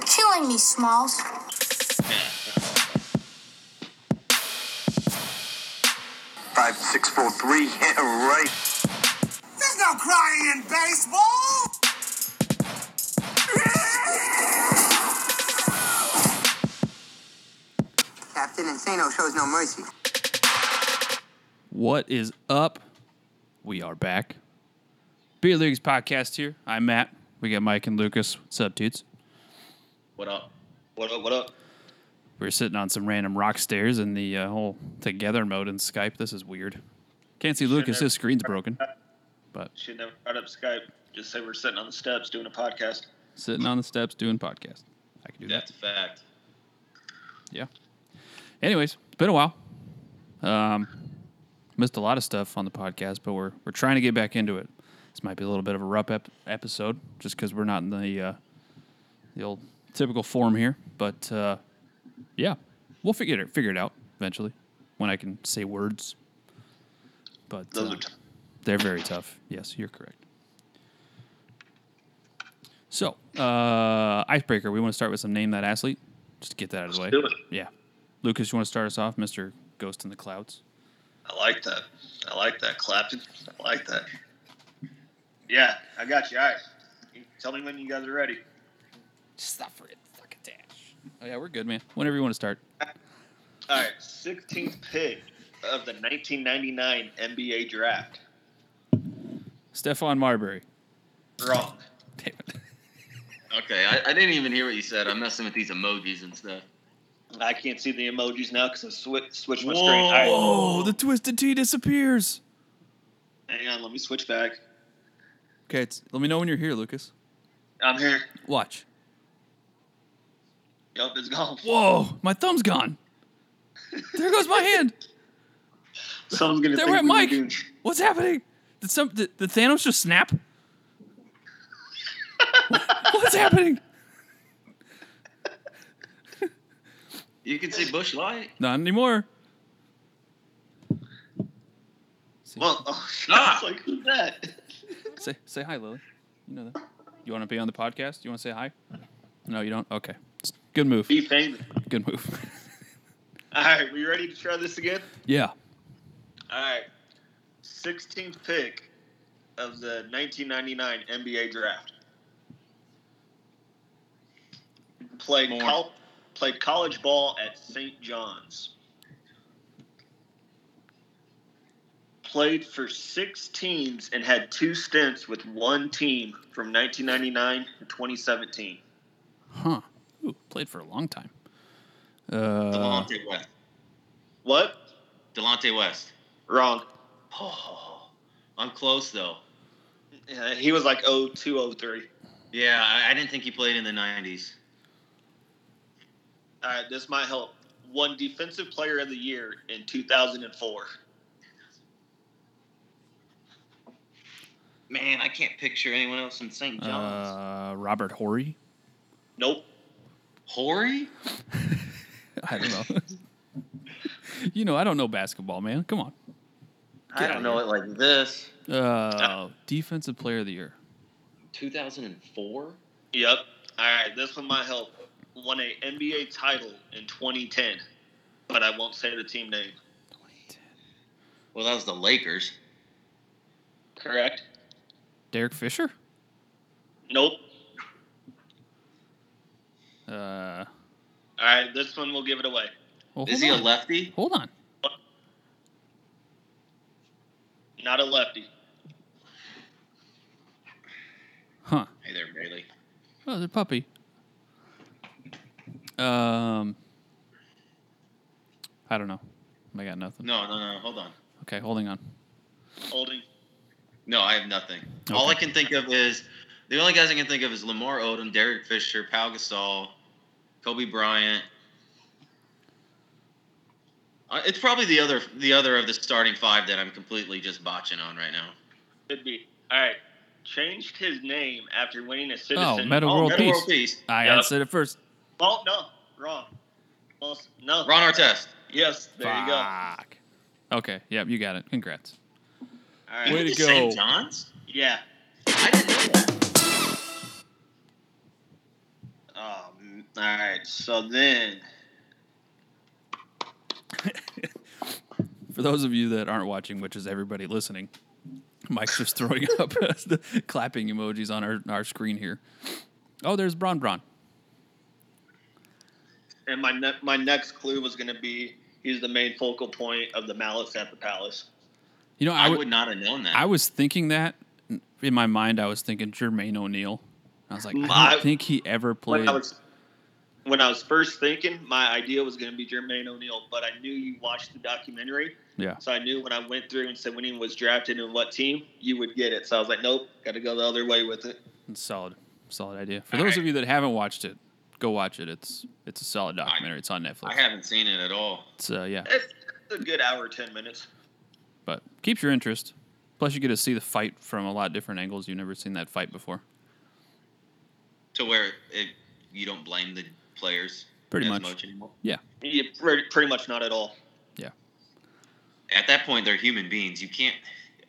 calling me, Smalls? Five, six, four, three, hit right. There's no crying in baseball! Captain Insano shows no mercy. What is up? We are back. Beer Leagues podcast here. I'm Matt. We got Mike and Lucas. What's up, dudes? What up? What up? What up? We were sitting on some random rock stairs in the uh, whole together mode in Skype. This is weird. Can't see Lucas. His screen's broken. But Should never brought up Skype. Just say we're sitting on the steps doing a podcast. sitting on the steps doing podcast. I can do that. That's a fact. Yeah. Anyways, it's been a while. Um, missed a lot of stuff on the podcast, but we're we're trying to get back into it. This might be a little bit of a rough ep- episode, just because we're not in the uh, the old typical form here. But uh, yeah, we'll figure it figure it out eventually when I can say words. But Those uh, are tough. they're very tough. Yes, you're correct. So, uh, icebreaker. We want to start with some name that athlete. Just to get that out of the way. do it. Yeah, Lucas, you want to start us off, Mister Ghost in the Clouds? I like that. I like that, Clapton. I like that. Yeah, I got you. All right. You tell me when you guys are ready. Stop for it, fucking dash. Oh yeah, we're good, man. Whenever you want to start. All right. 16th pick of the 1999 NBA draft. Stefan Marbury. Wrong. Damn it. Okay, I, I didn't even hear what you said. I'm messing with these emojis and stuff. I can't see the emojis now because I swi- switched my screen. All right. Oh, the twisted T disappears. Hang on. Let me switch back. Okay, it's, let me know when you're here, Lucas. I'm here. Watch. Yup, it's gone. Whoa, my thumb's gone. There goes my hand. Someone's gonna There think went we were Mike. doing- What's happening? Did some did, did Thanos just snap? What's happening? You can see Bush Light. Not anymore. Well, oh, Ah. I was like, who's that? Say say hi, Lily. You know that. You want to be on the podcast? You want to say hi? No, you don't. Okay. Good move. Be famous. Good move. All right, we ready to try this again? yeah. All right. 16th pick of the 1999 NBA draft. Played, col- played college ball at St. John's. Played for six teams and had two stints with one team from 1999 to 2017. Huh. Ooh, played for a long time. Uh, Delonte West. What? Delonte West. Wrong. Oh, I'm close though. Yeah, he was like 0203. Yeah, I, I didn't think he played in the '90s. All right, this might help. Won Defensive Player of the Year in 2004. Man, I can't picture anyone else in St. John's. uh, Robert Horry. Nope. Horry? I don't know. you know, I don't know basketball, man. Come on. I don't know it like this. Uh, defensive player of the year. 2004. Yep. All right, this one might help. Won a NBA title in 2010, but I won't say the team name. Well, that was the Lakers. Correct? Derek Fisher. Nope. Uh, well, All right, this one will give it away. hold Is he a on. lefty? Hold on. Not a lefty. Huh. Hey there, Bailey. Oh, they're puppy. Um, I don't know. I got nothing. No, no, no. Hold on. Okay, holding on. Holding. No, I have nothing. All I Okay. can think of is the only guys I can think of is Lamar Odom, Derek Fisher, Pau Gasol, Kobe Bryant. Uh, It's probably the other the other of the starting five that I'm completely just botching on right now. Could be. All right. Changed his name after winning a citizen. Oh, Metal World Metal Peace. Oh, World Peace. I Yep. said it first. Oh, no. Wrong. Almost- No. Ron Artest. Yes, there you go. All Fuck. Okay. Yep, you got it. Congrats. right. Way Is to it St. go. John's? Yeah. I didn't know that. Oh, m- all right. So then, For those of you that aren't watching, which is everybody listening, Mike's just throwing up the clapping emojis on our, our screen here. Oh, there's Bron Bron. and my ne- my next clue was going to be he's the main focal point of the malice at the palace. You know, I I would- would not have known that. I was thinking that in my mind. I was thinking Jermaine O'Neal. I was like, I don't My- think he ever played. When I was when I was first thinking, my idea was going to be Jermaine O'Neal, but I knew you watched the documentary, yeah, so I knew when I went through and said when he was drafted and what team, you would get it. So I was like, nope, got to go the other way with it. it's solid, solid idea. For those of you that haven't watched it, go watch it. It's it's a solid documentary. It's on Netflix. I haven't seen it at all. It's uh, yeah, It's a good hour, ten minutes. but keeps your interest. Plus, you get to see the fight from a lot of different angles. You've never seen that fight before. To where it, you don't blame the players Pretty as much. anymore. Yeah, Yeah, pretty, pretty much not at all. yeah. At that point, they're human beings. You can't.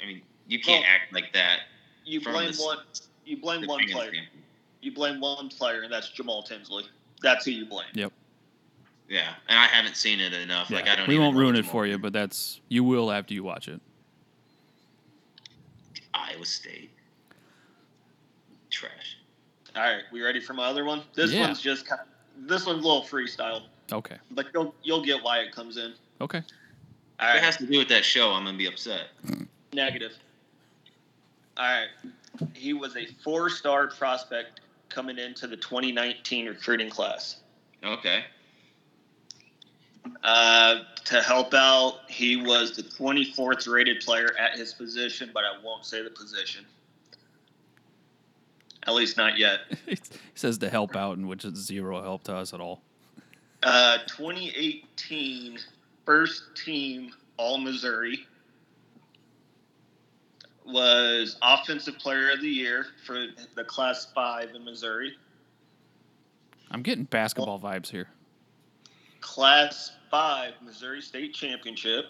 I mean, you can't Well, act like that. You From blame this- one. You blame the one fans player. standpoint. You blame one player, and that's Jamal Tinsley. That's who you blame. Yep. Yeah, and I haven't seen it enough. Like Yeah. I don't. we even won't know ruin it anymore. for you, but that's you will after you watch it. Iowa State. Trash. All right, we ready for my other one? This Yeah. one's just kind this one's a little freestyle, Okay, but you'll you'll get why it comes in. okay. All If right, it has to do with that show, I'm gonna be upset. negative. All right, he was a four-star prospect coming into the 2019 recruiting class. Okay. Uh, to help out, he was the 24th rated player at his position, but I won't say the position. At least not yet. it says to help out, and which is zero help to us at all. Uh, 2018 first team All Missouri was offensive player of the year for the class five in Missouri. I'm getting basketball vibes here. Class five Missouri State Championship.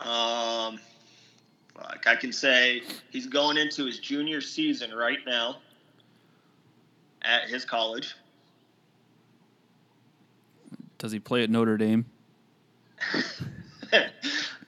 Um, like I can say he's going into his junior season right now at his college. Does he play at Notre Dame?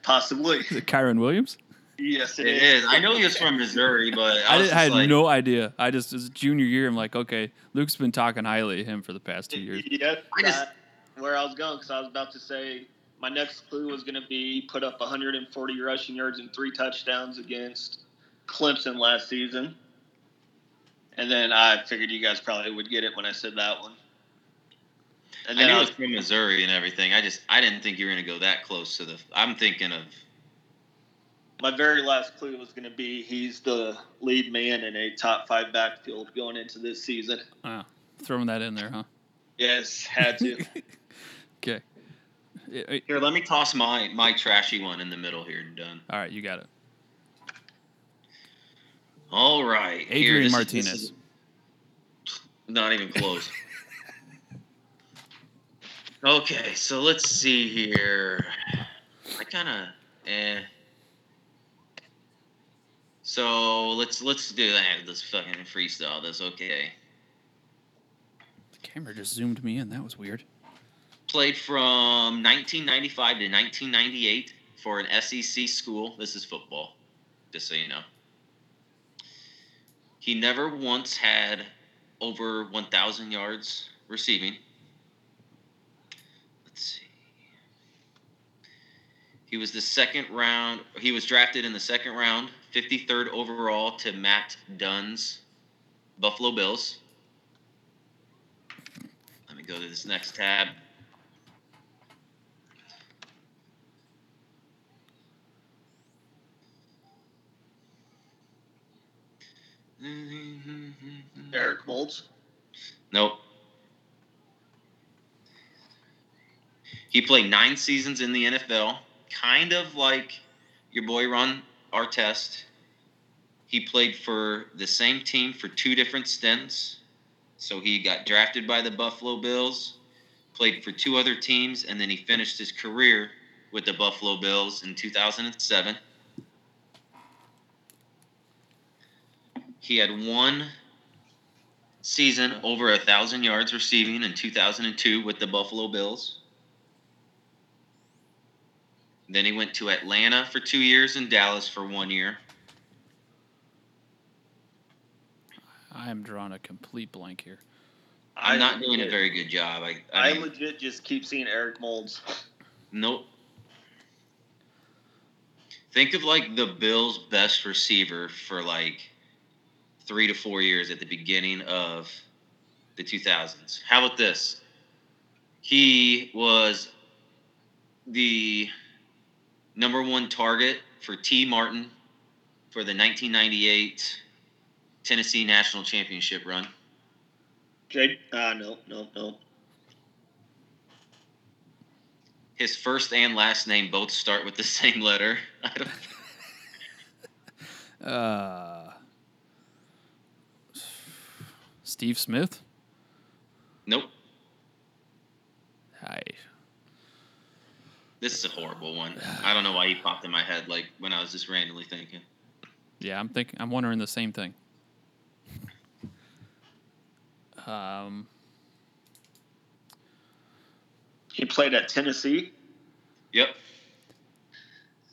Possibly. Is it Kyron Williams? Yes, It is. I know he was from Missouri, but I, I, did- I was just had like, no idea. I just his junior year, I'm like, okay, Luke's been talking highly of him for the past two years. Yep. I just- that- where I was going because I was about to say my next clue was going to be put up 140 rushing yards and three touchdowns against Clemson last season, and then I figured you guys probably would get it when I said that one. And I then knew I, he was was, from Missouri and everything. I just I didn't think you were gonna go that close to the. I'm thinking of my very last clue was going to be he's the lead man in a top five backfield going into this season. Ah, throwing that in there, huh? Yes, had to. Okay. Eh, eh, here. Let me toss my my trashy one in the middle here and done. All right, you got it. All right, here, Adrian this is- this Martinez. is not even close. okay, so let's see here. I kind of eh. So let's let's do that. Let's fucking freestyle this. Okay. the camera just zoomed me in. That was weird. played from 1995 to 1998 for an SEC school. This is football, just so you know. He never once had over 1,000 yards receiving. Let's see. He was the second round, he was drafted in the second round, 53rd overall to Matt Dunn's Buffalo Bills. Let me go to this next tab. Eric Molds. Nope. He played nine seasons in the NFL, kind of like your boy Ron Artest. He played for the same team for two different stints. So he got drafted by the Buffalo Bills, played for two other teams, and then he finished his career with the Buffalo Bills in 2007. He had one season over a thousand yards receiving in 2002 with the Buffalo Bills. Then he went to Atlanta for two years and Dallas for one year. I am drawing a complete blank here. I'm I not doing a legit- very good job. I, I, I mean, legit just keep seeing Eric Molds. nope. Think of like the Bills' best receiver for like three to four years at the beginning of the 2000s. How about this? He was the number one target for T. Martin for the 1998 Tennessee National Championship run. Jake? Ah, no, no, no. His first and last name both start with the same letter. I don't. Uh, Steve Smith. Nope. I This is a horrible one. I don't know why he popped in my head like when I was just randomly thinking. yeah, I'm thinking. I'm wondering the same thing. Um, He played at Tennessee. Yep.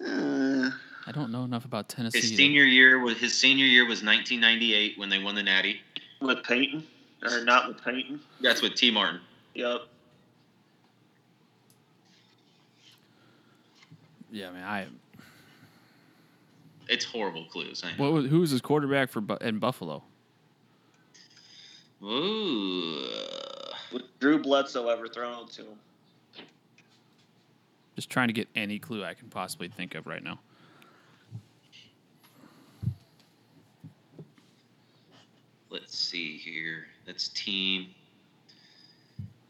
Uh, I don't know enough about Tennessee. His to- senior year was his senior year was 1998 when they won the Natty. with Peyton. Or not with Peyton. That's with T Martin. Yep. yeah, man. I It's horrible clues. I know. what was, who was his quarterback for Bu- in Buffalo? Ooh. With Drew Bledsoe ever thrown to him. Just trying to get any clue I can possibly think of right now. Let's see here. That's team.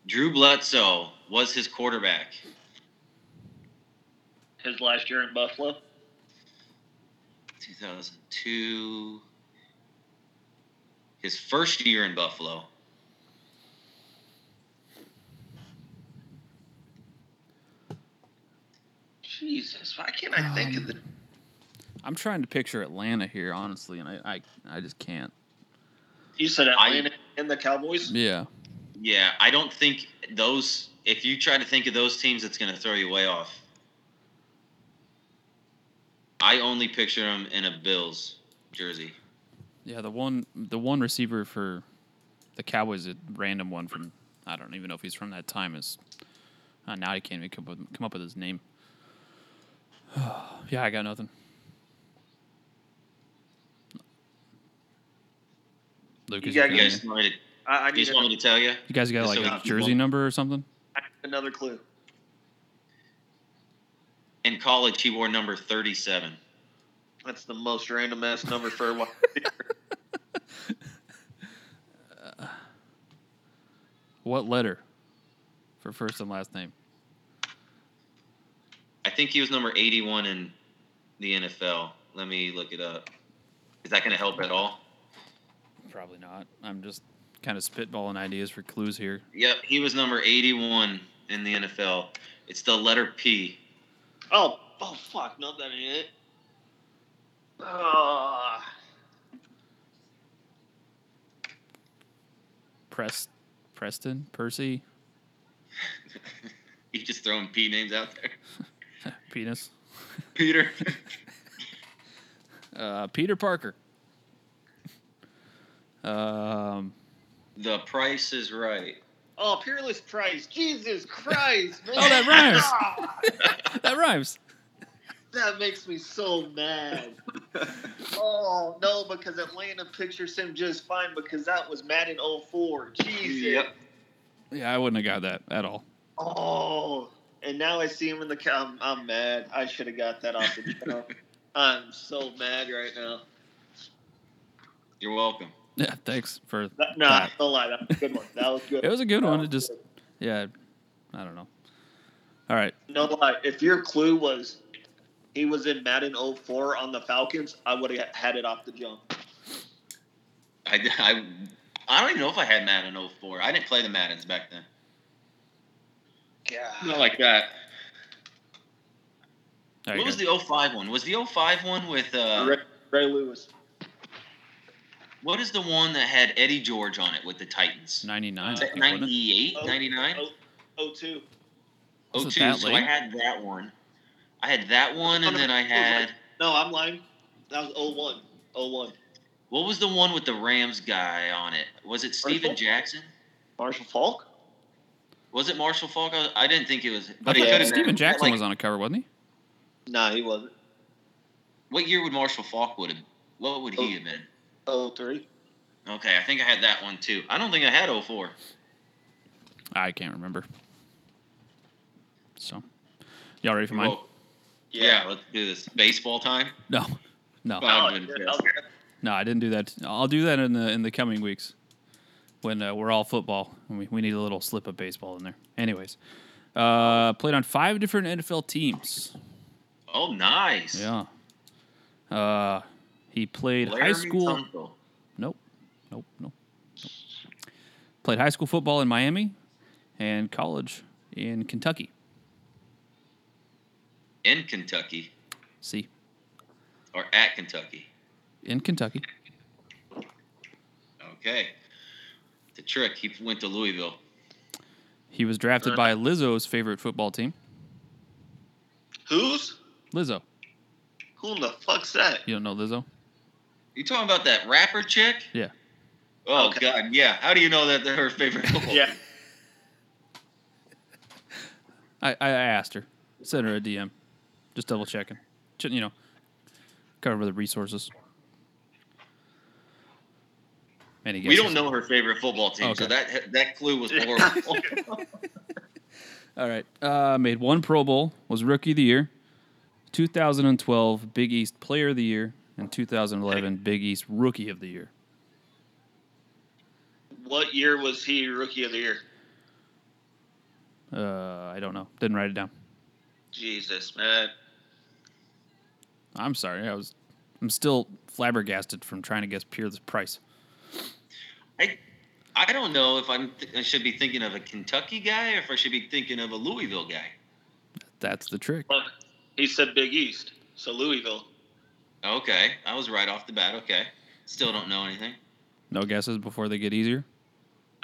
Drew Bledsoe was his quarterback. His last year in Buffalo. 2002. His first year in Buffalo. Jesus, why can't Oh. I think of the I'm trying to picture Atlanta here, honestly, and I I, I just can't. You said I- Atlanta and the Cowboys? Yeah. Yeah, I don't think those. If you try to think of those teams, it's going to throw you way off. I only picture him in a Bills jersey. Yeah, the one the one receiver for the Cowboys, a random one from I don't even know if he's from that time is uh, now I can't even come up with, come up with his name. yeah, I got nothing. Lucas, you, gotta You got- guys want me to, I, I you need just want another, me to tell you? you guys got Yes, like I a got jersey one. number or something? I need another clue. In college, he wore number 37. That's the most random ass number for a while. What letter for first and last name? I think he was number 81 in the NFL. Let me look it up. Is that going to help at all? Probably not. I'm just kind of spitballing ideas for clues here. Yep, he was number 81 in the NFL. It's the letter P. oh, oh fuck, no, that ain't it. Ah. Press, Preston, Percy, You just throwing P names out there. penis, Peter. uh, Peter Parker. Um, the price is right. Oh, Peerless Price. Jesus Christ, man. Oh, that rhymes. Ah, that rhymes. that makes me so mad. oh, no, because Atlanta pictures him just fine because that was Madden 04. Jesus. Yep. Yeah, I wouldn't have got that at all. Oh, and now I see him in the. ca- I'm, I'm mad. I should have got that off the jump. I'm so mad right now. You're welcome. Yeah, thanks for. That, no, That- don't lie. That was a good one. That was good. It was a good That one. was It just, good. yeah, I don't know. All right, No lie. If your clue was he was in Madden 04 on the Falcons, I would have had it off the jump. I, I, I don't even know if I had Madden 04. I didn't play the Maddens back then. God. Not like that. there you what was go. oh the 05 one? Was the 05 one with uh Ray, Ray Lewis. What is the one that had Eddie George on it with the Titans? 99. Is I that think, wasn't it? 98, Oh, 99? oh, oh, two. Was Oh, it two. that So I late? had that one. I had that one, and then I had No, I'm lying. That was oh one. Oh one. what was the one with the Rams guy on it? Was it Steven Marshall? Jackson? Marshall Falk? Was it Marshall Falk? I, I didn't think it was, I but it think Yeah. could have Steven been. Jackson Like, was on a cover, wasn't he? Nah, he wasn't. What year would Marshall Falk would have? What would he have been? Oh three. Okay, I think I had that one too. I don't think I had 04. I can't remember. So, y'all ready for mine? Well, yeah, let's do this. Baseball time. No, no. Well- Oh, I've been yeah, okay. No, I didn't do that. I'll do that in the in the coming weeks when uh, we're all football. And we, we need a little slip of baseball in there. Anyways, uh, played on five different NFL teams. Oh, nice. Yeah. Uh, he played high Laramie school. Tunsil. Nope. Nope. Nope. Nope. Played high school football in Miami and college in Kentucky. in Kentucky See, or at Kentucky. in Kentucky. Okay. The trick. He went to Louisville. He was drafted by Lizzo's favorite football team. Who's? Lizzo. Who in the fuck's that? You don't know Lizzo? You talking about that rapper chick? Yeah. Oh Okay. God, yeah. How do you know that they're her favorite football? Yeah. I, I I asked her, sent her a DM, just double checking. Shouldn't, You know, cover the resources. Any We guesses? don't know her favorite football team, so that that clue was horrible. All right. Uh, made one Pro Bowl, was Rookie of the Year, 2012 Big East Player of the Year, and 2011 Big East Rookie of the Year. What year was he rookie of the year? Uh, I don't know. Didn't write it down. Jesus, man. I'm sorry. I was. I'm still flabbergasted from trying to guess Pierce's price. I I don't know if I'm th- I should be thinking of a Kentucky guy or if I should be thinking of a Louisville guy. That's the trick. Look, he said Big East, so Louisville. Okay, I was right off the bat. Okay, still don't know anything. No guesses before they get easier.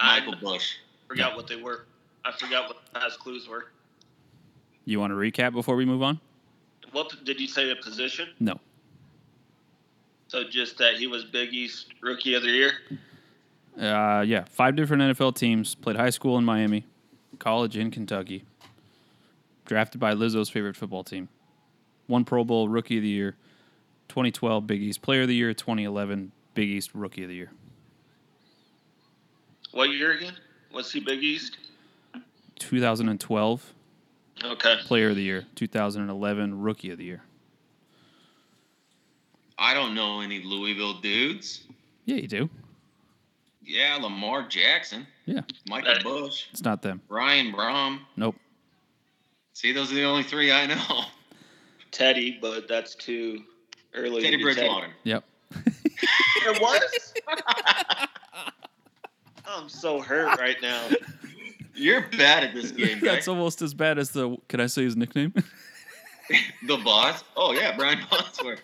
Michael I Bush. forgot what they were. I forgot what the past clues were. You want to recap before we move on? What did you say? The position? No. So just that he was Big East rookie of the year. Uh, yeah, five different NFL teams. Played high school in Miami, college in Kentucky. Drafted by Lizzo's favorite football team. One Pro Bowl Rookie of the Year, 2012 Big East Player of the Year, 2011 Big East Rookie of the Year. What year again? Was he Big East? 2012 Okay. Player of the Year, 2011 Rookie of the Year. I don't know any Louisville dudes. Yeah, you do. Yeah, Lamar Jackson, Yeah, Michael Right. Bush, it's not them. Ryan Brom. Nope. See, those are the only three I know. Teddy, but that's too early. to Teddy be Bridgewater. Yep. It was. I'm so hurt right now. You're bad at this game, right? That's almost as bad as the. Can I say his nickname? the boss. Oh yeah, Brian Bosworth.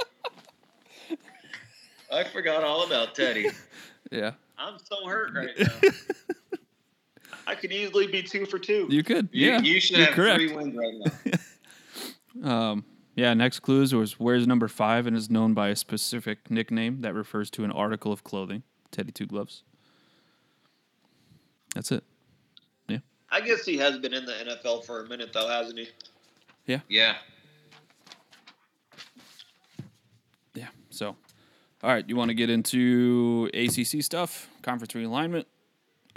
I forgot all about Teddy. yeah, I'm so hurt right now. I could easily be two for two. you could. You, yeah, you should you're have correct. three wins right now. Um, yeah, next clues was wears number five and is known by a specific nickname that refers to an article of clothing, Teddy Two Gloves. That's it. I guess he has been in the NFL for a minute though, hasn't he? Yeah. Yeah. So, all right, you want to get into ACC stuff, conference realignment.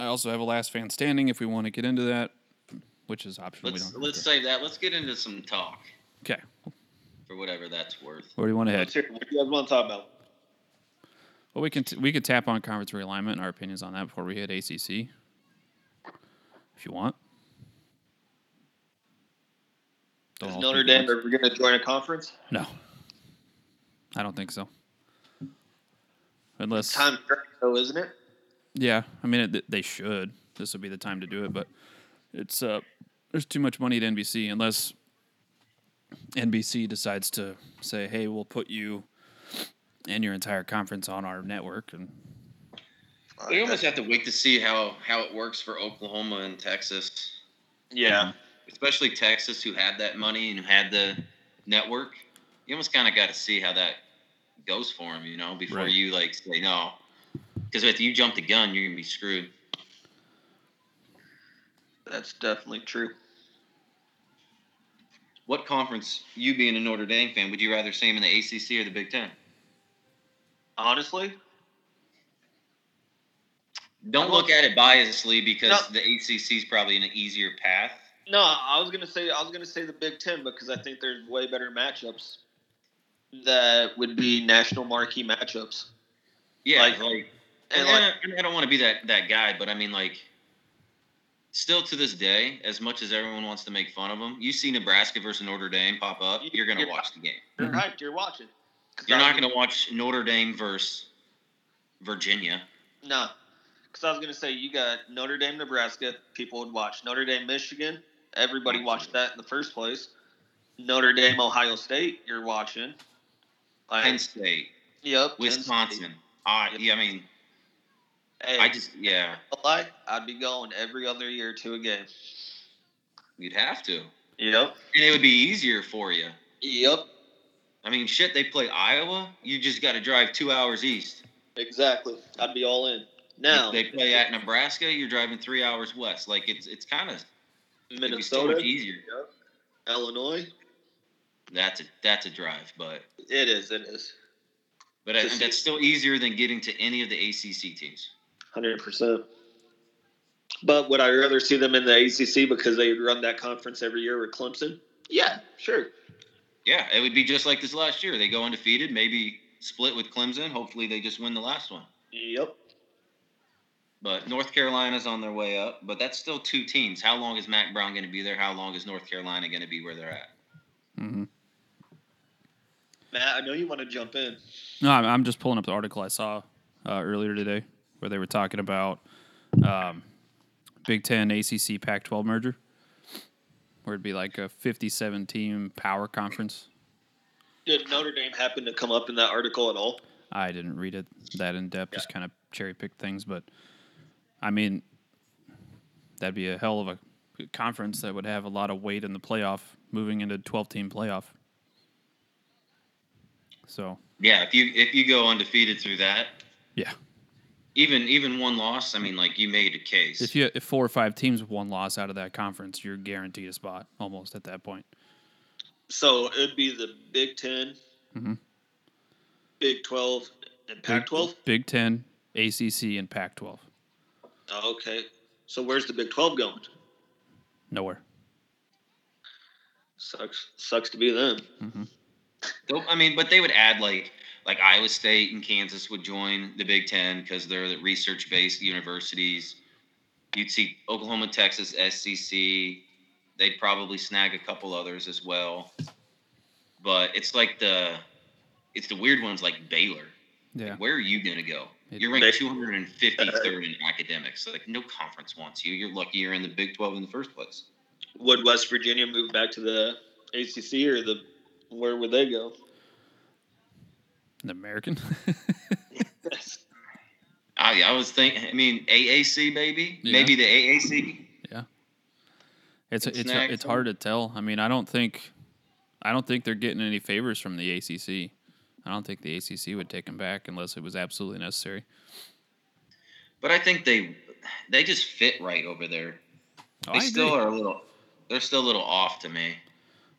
I also have a last fan standing if we want to get into that, which is optional. Let's we don't. let's save that. Let's get into some talk okay. for whatever that's worth. Where do you want to Let's head? hear- What do you guys want to talk about? Well, we can t- we could tap on conference realignment and our opinions on that before we hit ACC, if you want. Don't Is all Notre think Dame once. ever going to join a conference? No, I don't think so. Unless, Time though, isn't it? yeah, I mean it, they should. This would be the time to do it, but it's uh, there's too much money to NBC unless NBC decides to say, hey, we'll put you and your entire conference on our network, and We almost have to wait to see how how it works for Oklahoma and Texas, Yeah. especially Texas, who had that money and who had the network. You almost kind of got to see how that goes for them, you know, before Right. you like say no, because if you jump the gun, you're gonna be screwed. That's definitely true. What conference, you being a Notre Dame fan, would you rather see him in the ACC or the Big Ten? Honestly, Don't look at it biasly because No. the ACC is probably an easier path. no. I was gonna say I was gonna say the Big Ten because I think there's way better matchups that would be national marquee matchups. Yeah, Like- like, And and like, I, and I don't want to be that that guy, but I mean like, still to this day, as much as everyone wants to make fun of them, you see Nebraska versus Notre Dame pop up, you're gonna You're- watch the game. you're hyped. You're watching. 'Cause Mm-hmm. You're I not was- gonna watch Notre Dame versus Virginia. No, because I was gonna say you got Notre Dame, Nebraska. People would watch Notre Dame, Michigan. Everybody watched that in the first place. Notre Dame, Ohio State. You're watching. Like, Penn State, yep. Penn State. Wisconsin. I yeah, I mean, Hey, I just yeah, July, I'd be going every other year to a game. you'd have to, and Yep. it would be easier for you. Yep. I mean, shit, they play Iowa. You just got to drive two hours east. Exactly. I'd be all in. Now If they play at Nebraska. You're driving three hours west. Like it's it's kind of it'd be so Minnesota, much easier. Illinois. That's a that's a drive, but It is. It is. but I, Just- that's still easier than getting to any of the ACC teams. Hundred percent. But would I rather see them in the ACC because they run that conference every year with Clemson? Yeah, sure. Yeah, it would be just like this last year. They go undefeated, maybe split with Clemson. Hopefully, they just win the last one. Yep. But North Carolina's on their way up. But that's still two teams. How long is Mac Brown going to be there? How long is North Carolina going to be where they're at? Mhm. Matt, I know you want to jump in. No, I'm, I'm just pulling up the article I saw uh, earlier today where they were talking about um, Big Ten, ACC, Pac 12 merger, where it'd be like a 57 team power conference. Did Notre Dame happen to come up in that article at all? I didn't read it that in depth, just kind of cherry picked things. But I mean, that'd be a hell of a conference that would have a lot of weight in the playoff, moving into 12 team playoff. So, Yeah, if you if you go undefeated through that, yeah. even even one loss, I mean, like you made a case. If you if four or five teams with one loss out of that conference, you're guaranteed a spot almost at that point. So it'd be the Big 10 Mhm. Big Twelve, and Pac twelve. Big Ten, ACC, and Pac twelve. Oh, okay. So where's the Big Twelve going? Nowhere. Sucks. Sucks to be them. Mm-hmm. Though- I mean, but they would add like like Iowa State and Kansas would join the Big Ten because they're the research based universities. You'd see Oklahoma, Texas, SEC. They'd probably snag a couple others as well. But it's like the it's the weird ones like Baylor. Yeah. Where are you gonna go? It- You're ranked They- 253rd in academics. Like no conference wants you. You're lucky you're in the Big 12 in the first place. Would West Virginia move back to the ACC or the? Where would they go? An American. I, I was thinking. I mean, AAC baby. Yeah. Maybe the AAC. it's it's Snack. it's hard to tell. I mean, I don't think I don't think they're getting any favors from the ACC. I don't think the ACC would take them back unless it was absolutely necessary. But I think they they just fit right over there. Oh, I They still agree. are a little they're still a little off to me.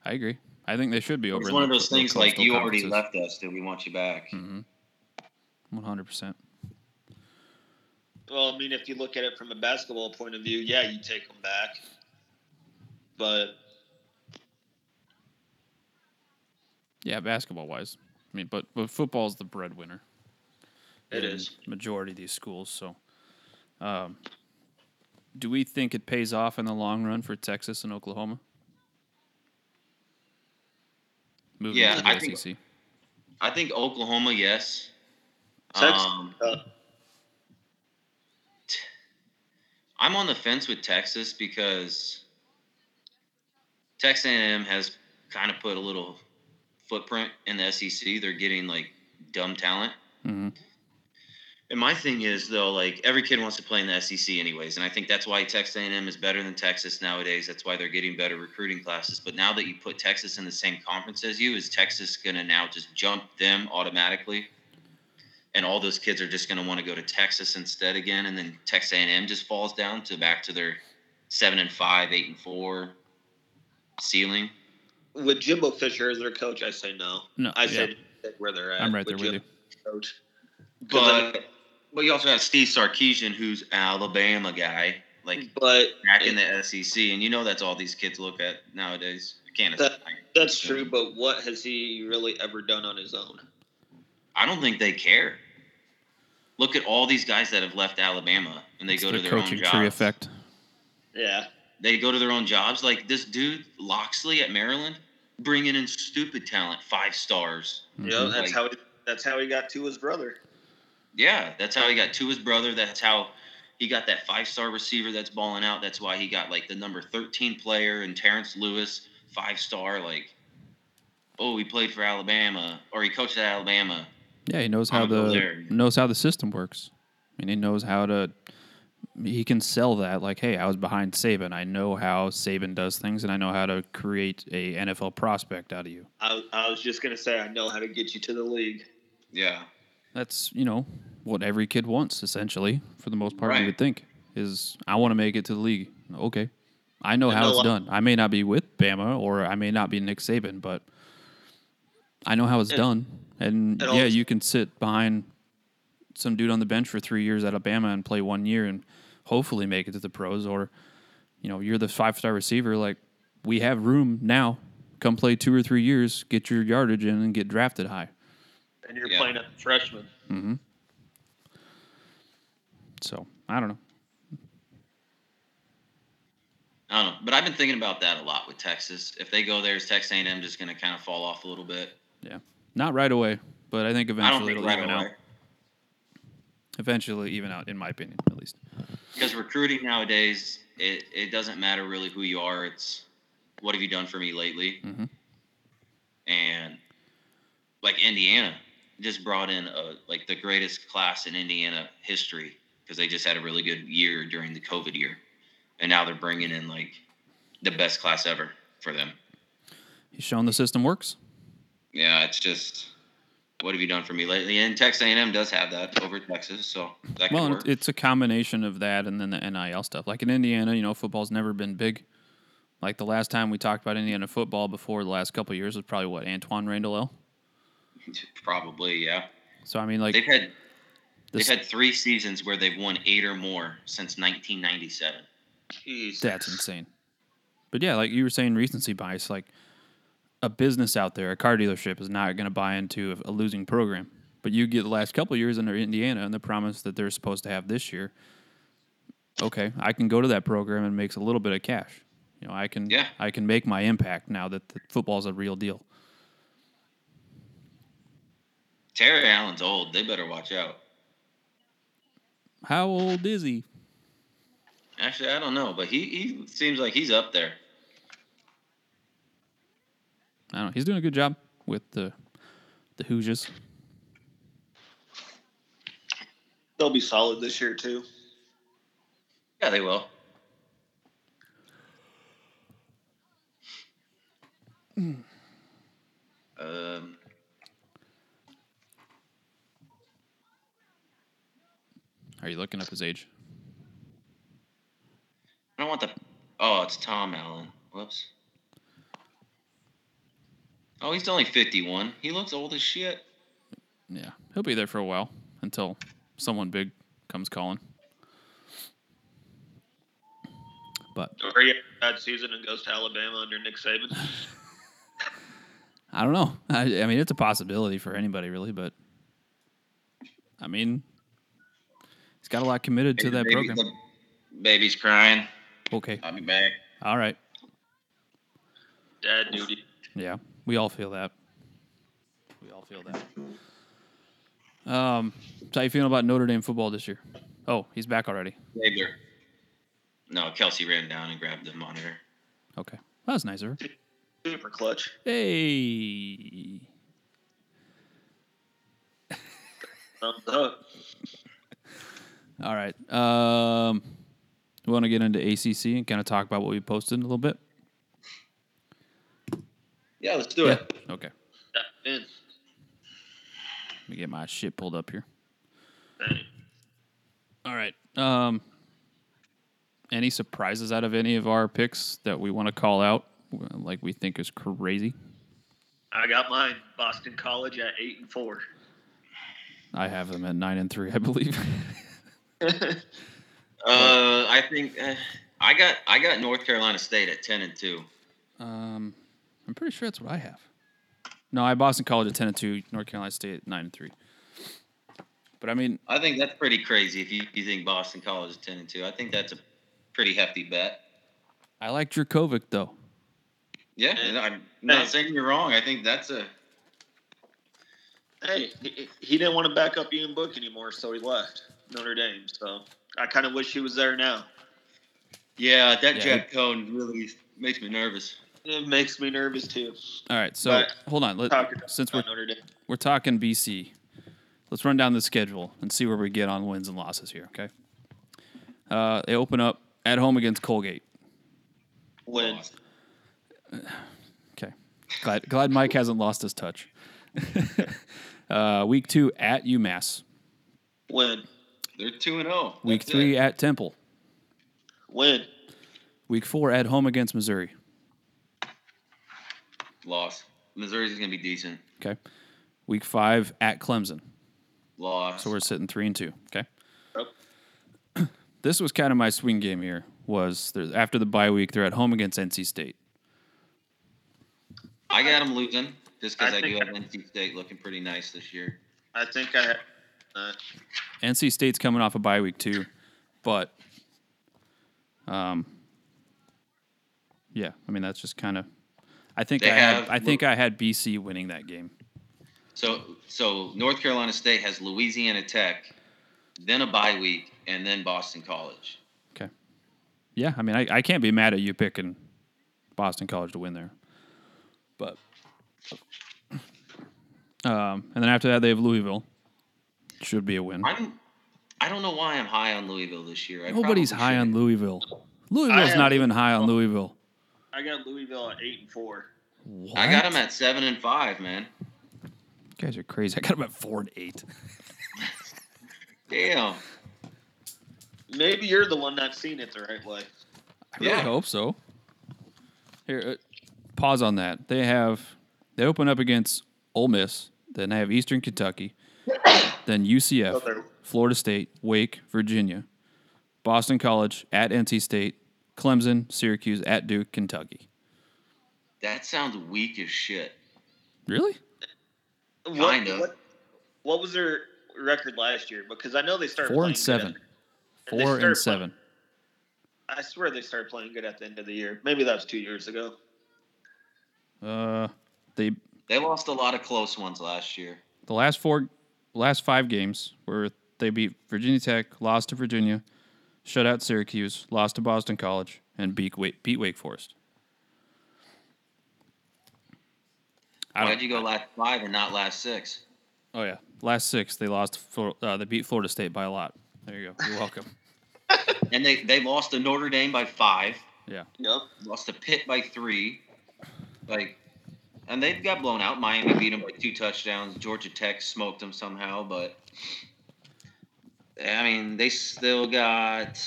I agree. I think they should be over. It's in one the of those co- the things like coastal Hmm. you already conferences. Mm-hmm. left us, do we want you back? One hundred percent. Well, I mean, if you look at it from a basketball point of view, yeah, you take them back. But Yeah, basketball wise. I mean, but but football's the breadwinner. it in is. majority of these schools. So, um, do we think it pays off in the long run for Texas and Oklahoma? Moving Yeah, to the E I think- SEC. I think Oklahoma, yes. Texas, Um, uh, I'm on the fence with Texas because Texas A&M has kind of put a little E Mm-hmm. footprint in the SEC. They're getting like dumb talent. Mhm. And my thing is though, like every kid wants to play in the SEC anyways, and I think that's why Texas A&M is better than Texas nowadays. That's why they're getting better recruiting classes. But now that you put Texas in the same conference as you, is Texas going to now just jump them automatically? And all those kids are just going to want to go to Texas instead again, and then Texas A&M just falls down to back to their seven and five, eight and four ceiling. With Jimbo Fisher as their coach, I say no. No, I yeah. say stick where uh, they're at. I'm right there with Jimbo as Coach. 'Cause I But but you also have Steve Sarkeesian, who's Alabama guy, like But back in the SEC, and you know that's all these kids look at nowadays. I can't. That- that's true. But what has he really ever done on his own? I don't think they care. Look at all these guys that have left Alabama and they It's go the to their own coaching jobs. tree effect. Yeah. They go to their own jobs. Like this dude Loxley at Maryland, bringing in stupid talent, five stars. You know, Mhm. that's Like- how he, that's how he got to his brother. Yeah, that's how he got to his brother. That's how he got that five star receiver that's balling out. That's why he got like the number 13 player and Terrence Lewis, five star. Like, oh, he played for Alabama or he coached at Alabama. Yeah, he knows how I'm still the there. knows how the system works, and he knows how to. He can sell that like, hey, I was behind Saban. I know how Saban does things, and I know how to create a NFL prospect out of you. I, I was just gonna say I know how to get you to the league. Yeah. That's you know what every kid wants essentially, for the most part. You Right. would think is I want to make it to the league. Okay, I know I how know it's a- done. I may not be with Bama or I may not be Nick Saban, but I know how it's And- done. And and yeah, also- you can sit behind some dude on the bench for three years at Alabama and play one year and hopefully make it to the pros. Or you know, you're the five star receiver. Like we have room now. Come play two or three years, get your yardage in, and get drafted high. And you're Yeah. playing as a freshman. So I don't know. I don't know, but I've been thinking about that a lot with Texas. If they go there, is Texas A&M just going to kind of fall off a little bit? Yeah, not right away, but I think I don't eventually think it'll right even away out. Eventually, even out, in my opinion, at least. because recruiting nowadays, it, it doesn't matter really who you are. It's what have you done for me lately? Mhm. And like Indiana just brought in a, like the greatest class in Indiana history because they just had a really good year during the COVID year, and now they're bringing in like the best class ever for them. He's shown the system works. yeah, it's just what have you done for me lately? And Texas A&M does have that over Texas, so that could Well, and work. it's- it's a combination of that and then the NIL stuff. Like in Indiana, you know, football's never been big. Like the last time we talked about Indiana football before the last couple of years was probably what Antoine Randall L. Probably, yeah. So I mean, like They've had this, they've had three seasons where they've won eight or more since 1997. Jeez. that's insane. But yeah, like you were saying, recency bias. Like a business out there, a car dealership, is not going to buy into a, a losing program. But you get the last couple of years under Indiana and the promise that they're supposed to have this year. Okay, I can go to that program and makes a little bit of cash. You know, I can Yeah. I can make my impact now that the football's a real deal. Terry Allen's old. They better watch out. How old is he? Actually, I don't know, but he, he seems like he's up there. I don't know. He's doing a good job with the the Hoosiers. They'll be solid this year too. Yeah, they will. Hmm. um, Are you looking up his age? I don't want the. Oh, it's Tom Allen. Whoops. Oh, he's only 51. He looks old as shit. Yeah, he'll be there for a while until someone big comes calling. But Or he has a bad season and goes to Alabama under Nick Saban. I don't know. I, I mean, it's a possibility for anybody, really. But I mean, he's got a lot committed to that Baby- program. the baby's crying. Okay, I'll be back. all right. Dad duty. Yeah, we all feel that. We all feel that. Um, so how you feeling about Notre Dame football this year? Oh, he's back already. Neighbor. No, Kelsey ran down and grabbed the monitor. Okay, that was nice of her. Super clutch. Hey, Thumbs up. All right. Um, we want to get into ACC and kind of talk about what we posted a little bit. Yeah, let's do it. Okay. Yeah, man. Let me get my shit pulled up here. Dang. All right. Um, any surprises out of any of our picks that we want to call out, like we think is crazy? I got mine. Boston College at eight and four. I have them at nine and three, I believe. Uh, I think uh, I got I got North Carolina State at ten and two. um, I'm pretty sure that's what I have. No, I have Boston College at ten and two, North Carolina State at nine and three. But I mean, I think that's pretty crazy if you, you think Boston College is ten and two. I think that's a pretty hefty bet. I like Dracovic though. Yeah, and I'm not saying you're wrong. I think that's a Hey, he, he didn't want to back up Ian Book anymore, so he left Notre Dame. So I kind of wish he was there now. yeah. That Yeah. Jack Cohn really makes me nervous. It makes me nervous too. All right, so But- hold on. Let, Talking about since we're Notre Dame, we're talking BC, let's run down the schedule and see where we get on wins and losses here. Okay. Uh, they open up at home against Colgate. when Okay. Glad glad Mike hasn't lost his touch. uh, week two at UMass. when They're two and zero. Week That's it. three at Temple. when Week four at home against Missouri. loss. Missouri's gonna be decent. Okay. Week five at Clemson. Loss. So we're sitting three and two. Okay. Yep. This was kind of my swing game here. Was there, after the bye week, they're at home against NC State. I got them losing just because I I, do think- have NC State looking pretty nice this year. I think I had. Uh, NC State's coming off a bye week too, but um, yeah, I mean that's just kind of. I think They I had have- I think I had BC winning that game. So so North Carolina State has Louisiana Tech, then a bye week, and then Boston College. Okay. Yeah, I mean I, I can't be mad at you picking Boston College to win there, but um, and then after that they have Louisville. Should be a win. I'm I don't know why I'm high on Louisville this year. I Nobody's probably high should. on Louisville. Louisville's am- not even high on Louisville. I got Louisville at eight and four. What? I got them at seven and five, man. You guys are crazy. I got them at four and eight. Damn. Maybe you're the one not seeing it the right way. I really Yeah. hope so. Here, uh, pause on that. They have they open up against Ole Miss, then they have Eastern Kentucky, then UCF, Okay. Florida State, Wake, Virginia, Boston College at NC State, Clemson, Syracuse at Duke, Kentucky. That sounds weak as shit. Really? What, Kinda. What, what was their record last year? Because I know they started Four playing and good seven. And they Four start playing- and seven. At, I swear they started playing good at the end of the year. Maybe that was two years ago. Uh, they They lost a lot of close ones last year. the last four, last five games where they beat Virginia Tech, lost to Virginia, shut out Syracuse, lost to Boston College, and beat Wake, beat Wake Forest. I Why'd don't, you go last five and not last six? oh yeah, last six they lost. Flor- Uh, they beat Florida State by a lot. There you go. You're welcome. And they, they lost to Notre Dame by five, yeah. Yep. lost to Pitt by three. Like, and they got blown out. Miami beat them by two touchdowns. Georgia Tech smoked them somehow, but I mean, they still got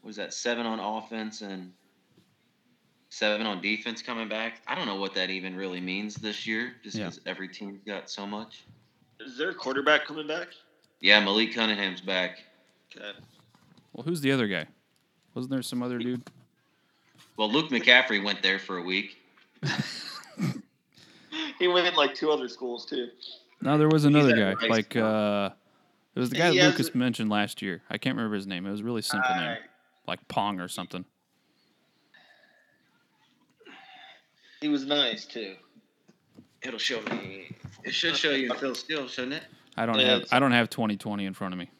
what is that, seven on offense and seven on defense coming back. I don't know what that even really means this year, just Yeah. because every team got so much. Is there a quarterback coming back? Yeah, Malik Cunningham's back. Okay. Well, who's the other guy? Wasn't there some other dude? Well, Luke McCaffrey went there for a week. He went in like two other schools too. No, there was another at guy. Rice. Like uh, it was the guy He has Lucas a- mentioned last year. I can't remember his name. It was a really simple name, Alright. like Pong or something. He was nice too. It'll show me. It should show you Phil Steele, shouldn't it? I don't Yeah, have it's- I don't have 2020 in front of me.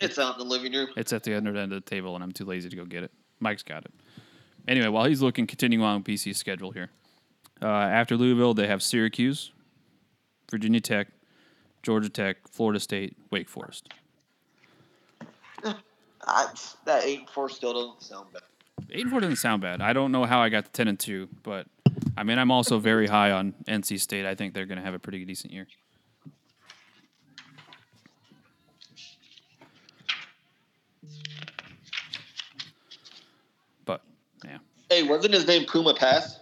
It's out in the living room. It's at the other end of the table, and I'm too lazy to go get it. Mike's got it. Anyway, while he's looking, continuing on PC's schedule here. Uh, after Louisville, they have Syracuse, Virginia Tech, Georgia Tech, Florida State, Wake Forest. I, that eight four still doesn't sound bad. Eight and four doesn't sound bad. I don't know how I got to ten and two, but I mean I'm also very high on NC State. I think they're going to have a pretty decent year. But yeah, Hey, wasn't his name Puma Pass?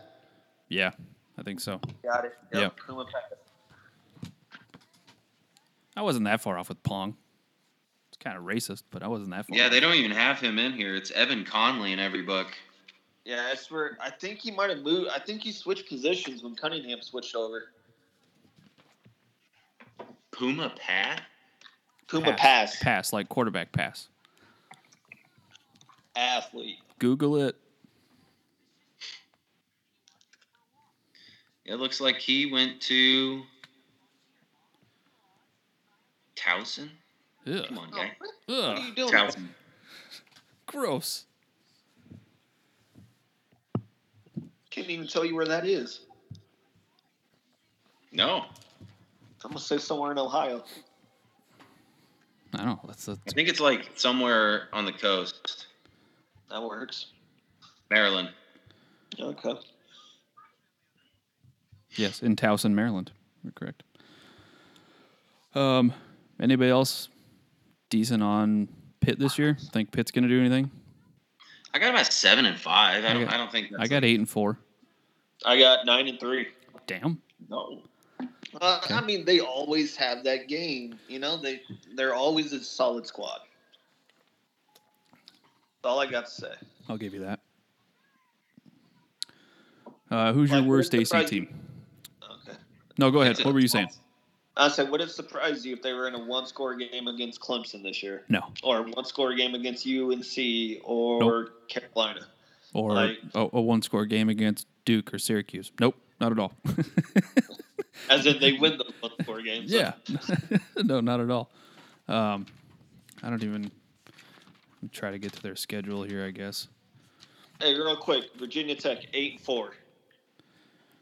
yeah, I think so. Got it. Yep. Puma Pass. I wasn't that far off with Pong. It's kind of racist, but I wasn't that far. Yeah, off. they don't even have him in here. It's Evan Conley in every book. Yeah, that's where I think he might have moved. I think he switched positions when Cunningham switched over. Puma Pat? Puma Pass, pass like quarterback pass. athlete. Google it. It looks like he went to Towson. Ugh. Come on, guy. What? Ugh. What are you doing? Towson. Gross. Can't even tell you where that is. No, I'm gonna say somewhere in Ohio. I don't know. That's, that's I think it's like somewhere on the coast, That works. Maryland. Okay. Yes, in Towson, Maryland. You're correct. Um, anybody else decent on Pitt this year? Think Pitt's gonna do anything? I got about seven and five. I don't. I, got- don't think. That's I got eight and four. I got nine and three. Damn. No. Uh, I mean, they always have that game. You know, they they're always a solid squad. That's all I got to say. I'll give you that. Uh, who's your Like, worst what AC surprised you- team? Okay. No, go ahead. It's a- What were you saying? I said, would it surprise you if they were in a one score game against Clemson this year? No. Or one score game against UNC or Carolina? Or Like- a, a one score game against Duke or Syracuse. Nope, not at all. As if they win those one score games. yeah. no, not at all. Um, I don't even try to get to their schedule here, I guess. Hey, real quick Virginia Tech, 8 and 4.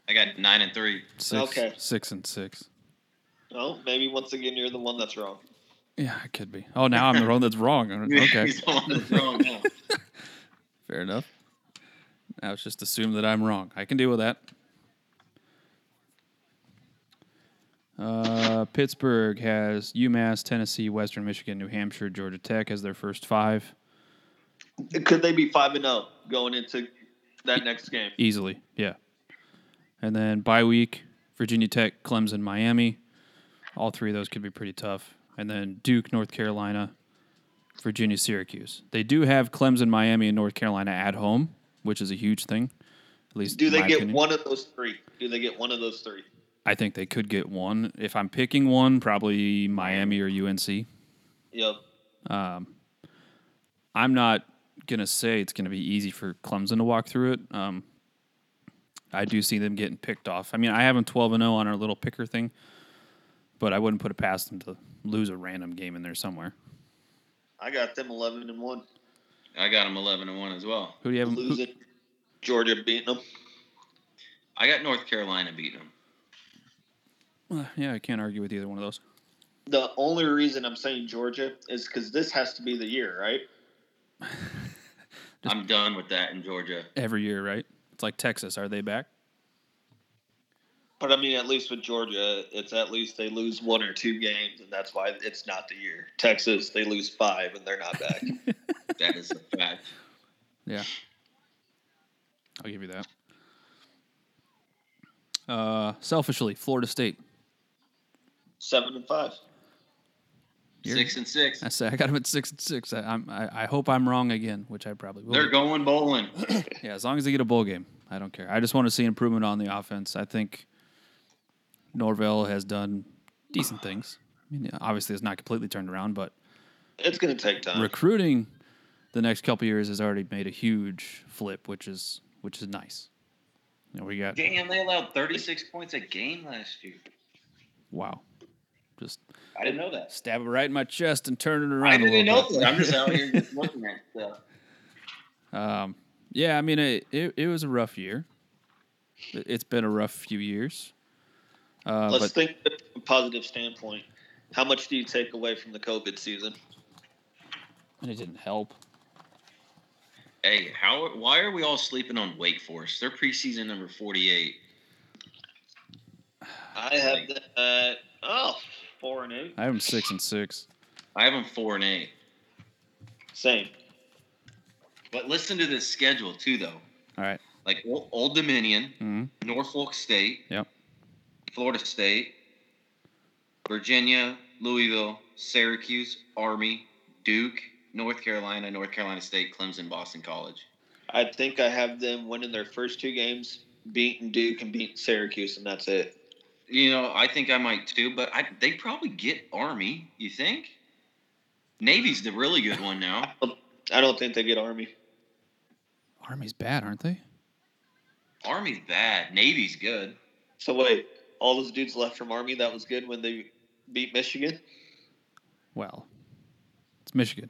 I got nine and three. Six, Okay. six and six. Oh, maybe once again, you're the one that's wrong. Yeah, it could be. Oh, now I'm the one that's wrong. Okay, He's the one that's wrong. now. fair enough. Now it's just assume that I'm wrong. I can deal with that. Uh, Pittsburgh has UMass, Tennessee, Western Michigan, New Hampshire, Georgia Tech as their first five Could they be 5 and 0 going into that next game? easily. Yeah, and then bye week: Virginia Tech, Clemson, Miami. All three of those could be pretty tough. And then Duke, North Carolina, Virginia, Syracuse. They do have Clemson, Miami, and North Carolina at home, which is a huge thing. At least Do in they my get opinion. one of those three? Do they get one of those three? I think they could get one. If I'm picking one, probably Miami or UNC. Yep. I'm not gonna say it's gonna be easy for Clemson to walk through it. Um, I do see them getting picked off. I mean, I have them 12 and 0 on our little picker thing, but I wouldn't put it past them to lose a random game in there somewhere. I got them 11 and 1. I got him eleven and one as well. Who do you have? Who, Losing. Georgia beating them. I got North Carolina beating him. Uh, yeah, I can't argue with either one of those. The only reason I'm saying Georgia is because this has to be the year, right? I'm done with that in Georgia. Every year, right? It's like Texas. Are they back? But I mean, at least with Georgia, it's at least they lose one or two games, and that's why it's not the year. Texas, they lose five, and they're not back. That is a fact. Yeah. I'll give you that. Uh, selfishly, Florida State. Seven and five. You're- Six and six. I say I got them at six and six. I, I'm, I, I hope I'm wrong again, which I probably will. They're be. going bowling. Yeah, as long as they get a bowl game, I don't care. I just want to see improvement on the offense. I think Norvell has done decent things. I mean, obviously, it's not completely turned around, but It's going to take time. recruiting the next couple years has already made a huge flip, which is which is nice. You know, we got Damn, they allowed 36 points a game last year. wow, just I didn't know that. stab it right in my chest and turn it around. I a didn't little know bit. that. I'm just out here just looking at stuff. Yeah, I mean, it, it, it was a rough year. It- It's been a rough few years. Uh, Let's but think from a positive standpoint. How much do you take away from the COVID season? and it didn't help. Hey, how? Why are we all sleeping on Wake Forest? They're preseason number forty-eight. I have the uh, oh four and eight. I have them six and six. I have them four and eight. Same. But listen to this schedule too, though. All right. Like Ol- Old Dominion, Mhm. Norfolk State, Yep. Florida State, Virginia, Louisville, Syracuse, Army, Duke, North Carolina, North Carolina State, Clemson, Boston College. I think I have them winning their first two games, beating Duke and beating Syracuse, and that's it. You know, I think I might too, but I, they probably get Army. You think? Navy's the really good one now. I don't think they get Army. Army's bad, aren't they? Army's bad. Navy's good. So wait, all those dudes left from Army that was good when they beat Michigan. Well, it's Michigan.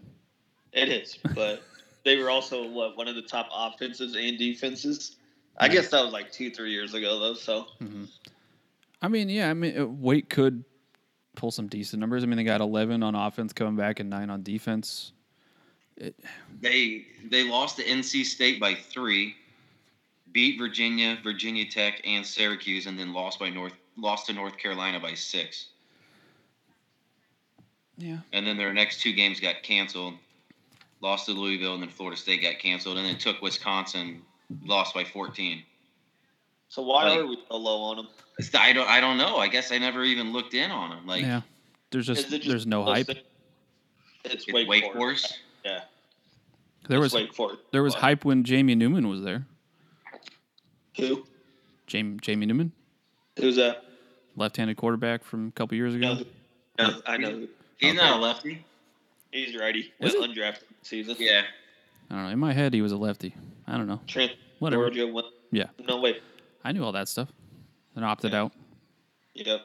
It is, but they were also what one of the top offenses and defenses. I guess that was like two, three years ago though. So I mean, yeah. I mean, uh, Wake could pull some decent numbers. I mean, they got eleven on offense coming back and nine on defense. They they lost to NC State by three, beat Virginia, Virginia Tech, and Syracuse, and then lost by North lost to North Carolina by six. Yeah. And then their next two games got canceled. Lost to Louisville, and then Florida State got canceled, and then took Wisconsin, lost by fourteen. so why Like- are we so low on them? It's- I don't I don't know. I guess I never even looked in on them. Like yeah. There's just, there's no hype. It's it's Wake, Wake Forest. Forest. Yeah, There was it's Wake Forest. there was But hype when Jamie Newman was there. Who? Jamie Jamie Newman, Who's that? left-handed quarterback from a couple years ago. No, no, I know. He's not a lefty. He's righty. Was Went undrafted season. Yeah. I don't know. In my head, he was a lefty. I don't know. Trent, Whatever. Georgia went. Yeah, No wait. I knew all that stuff. Then opted out. Yep.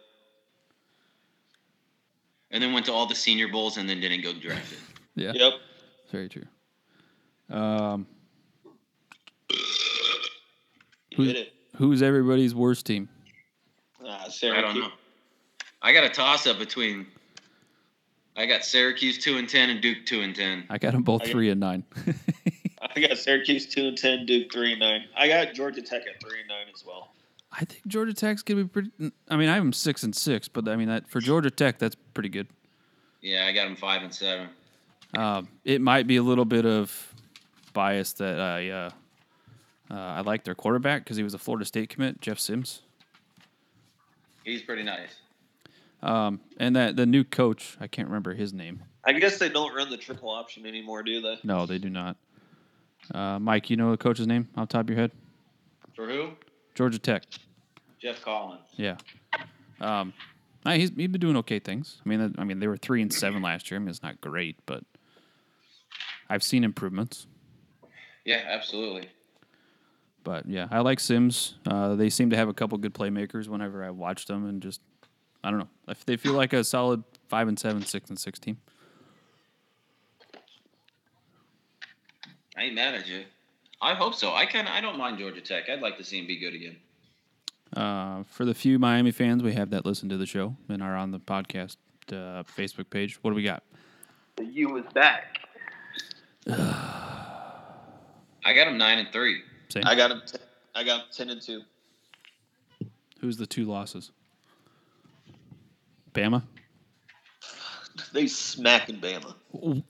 And then went to all the senior bowls and then didn't go drafted. Yeah, Yep. very true. Um, Who- Hit it. who's everybody's worst team? Ah, I don't Syracuse. know. I got a toss up between. I got Syracuse two and ten and Duke two and ten. I got them both I got- three and nine. I got Syracuse two and ten, Duke three and nine. I got Georgia Tech at three and nine as well. I think Georgia Tech's gonna be pretty. I mean, I have them six and six, but I mean that for Georgia Tech, that's pretty good. Yeah, I got them five and seven. Um, it might be a little bit of bias that I uh, uh, I like their quarterback because he was a Florida State commit, Jeff Sims, He's pretty nice. and that the new coach. I can't remember his name. I guess they don't run the triple option anymore, do they? No, they do not. Uh, Mike, you know the coach's name off the top of your head? For who? Georgia Tech. Jeff Collins. Yeah. Um, nah, he's he's been doing okay things. I mean, I mean they were three and seven last year. I mean, it's not great, but I've seen improvements. Yeah, absolutely. But yeah, I like Sims. Uh, they seem to have a couple good playmakers whenever I watch them, and just I don't know if they feel like a solid five and seven, six and six team. I ain't mad at you. I hope so. I kind of. I don't mind Georgia Tech. I'd like to see him be good again. Uh, for the few Miami fans we have that listen to the show and are on the podcast uh, Facebook page, what do we got? The U is back. I got him nine and three. Say I got him. T- I got him ten and two. who's the two losses? Bama. They smacking Bama. No,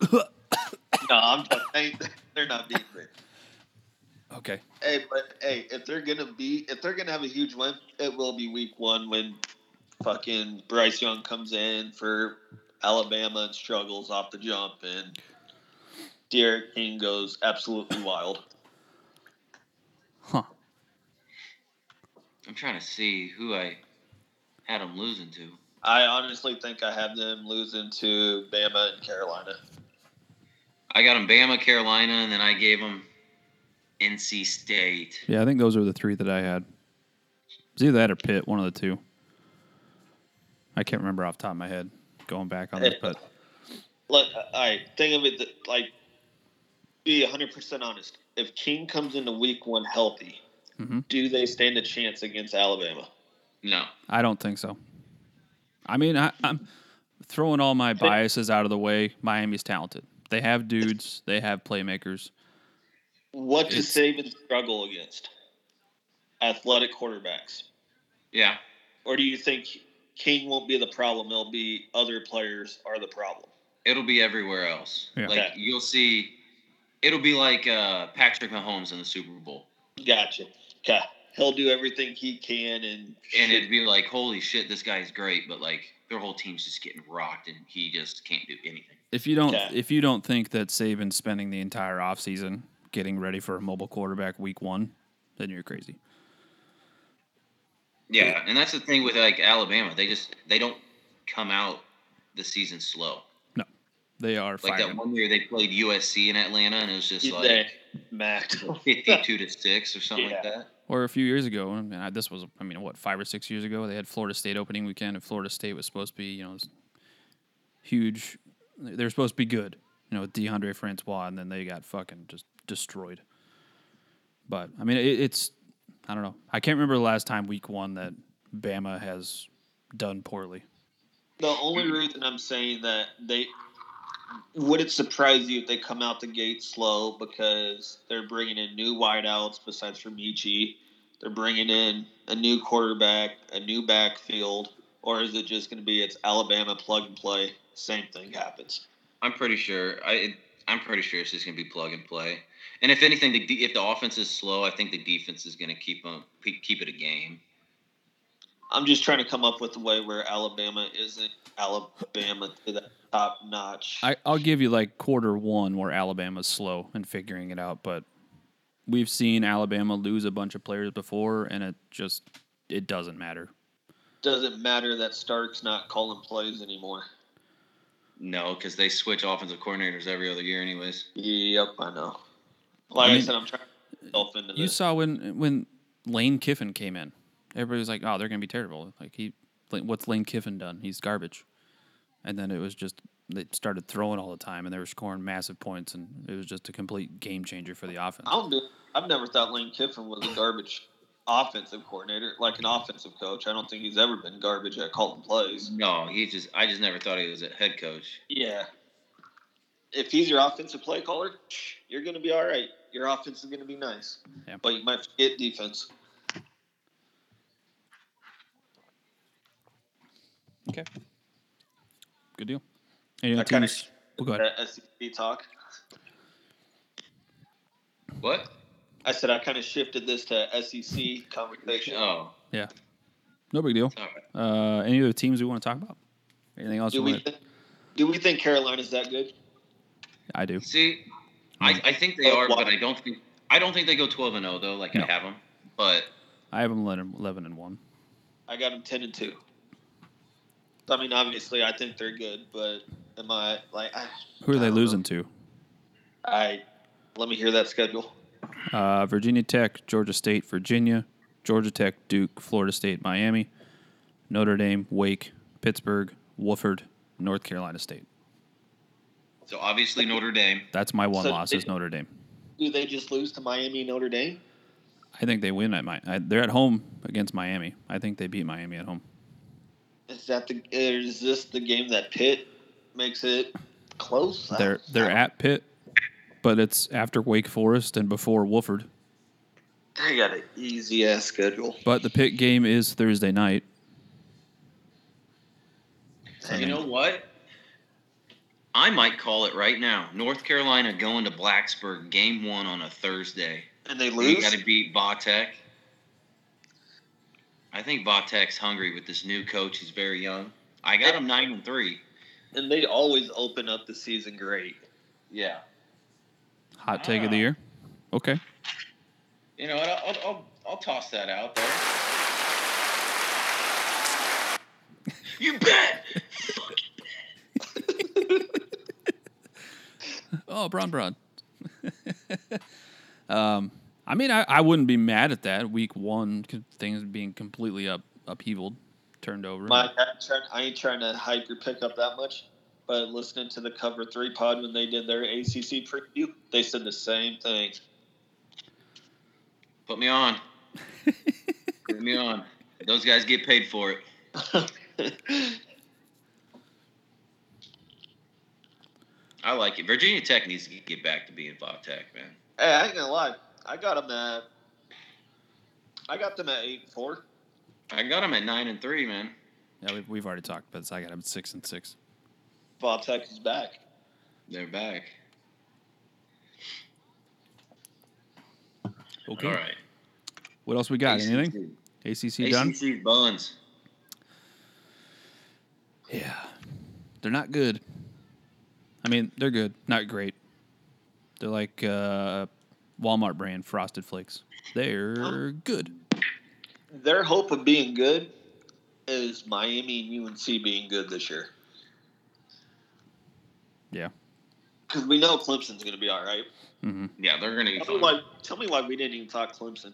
I'm just, they, they're not beating Bama. okay. Hey, but hey, if they're gonna be, if they're gonna have a huge win, it will be week one when fucking Bryce Young comes in for Alabama and struggles off the jump, and Derek King goes absolutely wild. Huh. I'm trying to see who I had him losing to. I honestly think I have them losing to Bama and Carolina. I got him Bama, Carolina, and then I gave him NC State. Yeah, I think those are the three that I had. It's either that or Pitt, one of the two. I can't remember off the top of my head going back on this, but Look, I think of it th- like be 100% honest. If King comes into week one healthy, Mhm. do they stand a chance against Alabama? No. I don't think so. I mean, I, I'm throwing all my biases out of the way. Miami's talented. They have dudes. They have playmakers. What does It's- Saban struggle against? Athletic quarterbacks. Yeah. Or do you think King won't be the problem? It'll be other players are the problem. It'll be everywhere else. Yeah. Like Okay. you'll see, it'll be like uh, Patrick Mahomes in the Super Bowl, Gotcha. Okay. He'll do everything he can and and it'd be like, holy shit, this guy's great, but like their whole team's just getting rocked, and he just can't do anything. If you don't, Yeah. if you don't think that Saban's spending the entire offseason getting ready for a mobile quarterback week one, then you're crazy. Yeah, and that's the thing with like Alabama, they just they don't come out the season slow. No, they are Like fired. that one year they played USC in Atlanta, and it was just like they macked. fifty-two to six or something like Yeah. that. or a few years ago, I mean, I, this was, I mean, what, five or six years ago, they had Florida State opening weekend, and Florida State was supposed to be, you know, this huge. They were supposed to be good, you know, with DeAndre Francois, and then they got fucking just destroyed. But, I mean, it, it's, I don't know. I can't remember the last time week one that Bama has done poorly. The only reason I'm saying that they would it surprise you if they come out the gate slow because they're bringing in new wideouts besides from Michi. They're bringing in a new quarterback, a new backfield, or is it just going to be it's Alabama plug and play? Same thing happens. I'm pretty sure. I it, I'm pretty sure it's just gonna be plug and play. And if anything, the, de- if the offense is slow, I think the defense is gonna keep 'em- keep keep it a game. I'm just trying to come up with a way where Alabama isn't Alabama to the top notch. I, I'll give you like quarter one where Alabama's slow in figuring it out, but we've seen Alabama lose a bunch of players before, and it just, it doesn't matter. Doesn't matter that Stark's not calling plays anymore. No, because they switch offensive coordinators every other year, anyways. Yep, I know. Like I, mean, said, I'm trying to myself into You this. saw when when Lane Kiffin came in, everybody was like, "Oh, they're gonna be terrible." Like he, like, what's Lane Kiffin done? He's garbage. And then it was just they started throwing all the time, and they were scoring massive points, and it was just a complete game changer for the offense. I don't do, I've never thought Lane Kiffin was a garbage offensive coordinator, like an offensive coach. I don't think he's ever been garbage at calling plays. No, he just I just never thought he was a head coach. Yeah. If he's your offensive play caller, you're going to be all right. Your offense is going to be nice, Yeah. but you might forget defense. Okay, good deal. Any other I kinda- teams? We'll go ahead. That SEC E talk. What? I said I kind of shifted this to SEC conversation. Oh, Yeah, no big deal. all right. Uh, any other teams we want to talk about? Anything else? do You we want to think, do we think Carolina's that good? I do. See, I, I think they are, but I don't think I don't think they go twelve and zero though. Like No. I have them, but I have them 11 11 and one. I got them ten and two. I mean, obviously, I think they're good, but am I like I? Who are I they don't know. losing to? I let me hear that schedule. Uh, Virginia Tech, Georgia State, Virginia, Georgia Tech, Duke, Florida State, Miami, Notre Dame, Wake, Pittsburgh, Wofford, North Carolina State. so obviously Notre Dame. That's my one So loss they- is Notre Dame. Do they just lose to Miami, Notre Dame? I think they win at my. I, they're at home against Miami. I think they beat Miami at home. Is that the? Is this the game that Pitt makes it close? I They're don't- they're at Pitt, but it's after Wake Forest and before Wofford. They got an easy ass schedule. But the Pitt game is Thursday night. You know what? I might call it right now. North Carolina going to Blacksburg, game one on a Thursday. And they You lose. got to beat Vatek. I think Vatek's hungry with this new coach. He's very young. I got him nine and three. and they always open up the season great. Yeah. Hot take of the year. Okay. You know what? I'll, I'll, I'll, I'll toss that out there. you bet. Oh, Bron Bron. um, I mean, I, I wouldn't be mad at that. Week one, 'cause things being completely up upheavaled, turned over. My, I, ain't trying, I ain't trying to hype your pickup that much, but listening to the Cover Three pod when they did their ACC preview, they said the same thing. Put me on. Put me on. Those guys get paid for it. I like it. Virginia Tech needs to get back to being Bob Tech, man. Hey, I ain't gonna lie. I got them at. I got them at eight and four. I got them at nine and three, man. Yeah, we've, we've already talked about this. I got him at six and six. Bob Tech is back. They're back. Okay. All right. What else we got? ACC. Anything? ACC, done? ACC buns. Yeah. They're not good. I mean, they're good, not great. They're like uh, Walmart brand Frosted Flakes. They're good. Their hope of being good is Miami and UNC being good this year. Yeah. Mm-hmm. Because we know Clemson's going to be all right. Yeah, they're gonna be Tell me fun. why. Tell me why we didn't even talk Clemson.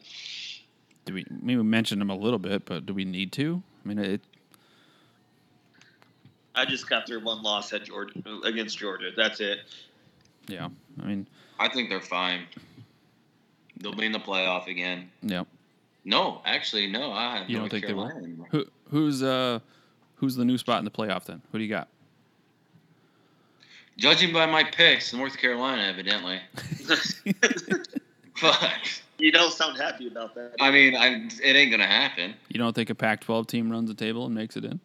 Do we? I mean, we mentioned them a little bit, but do we need to? I mean, it. I just got their one loss at Georgia against Georgia. That's it. Yeah. I mean, I think they're fine. They'll be in the playoff again. yeah. No, actually, no. I have You North don't think Carolina they will? anymore. Who, who's uh, who's the new spot in the playoff? Then who do you got? Judging by my picks, North Carolina, evidently. Fuck. you don't sound happy about that. I mean, I, it ain't gonna happen. You don't think a Pac-12 team runs the table and makes it in?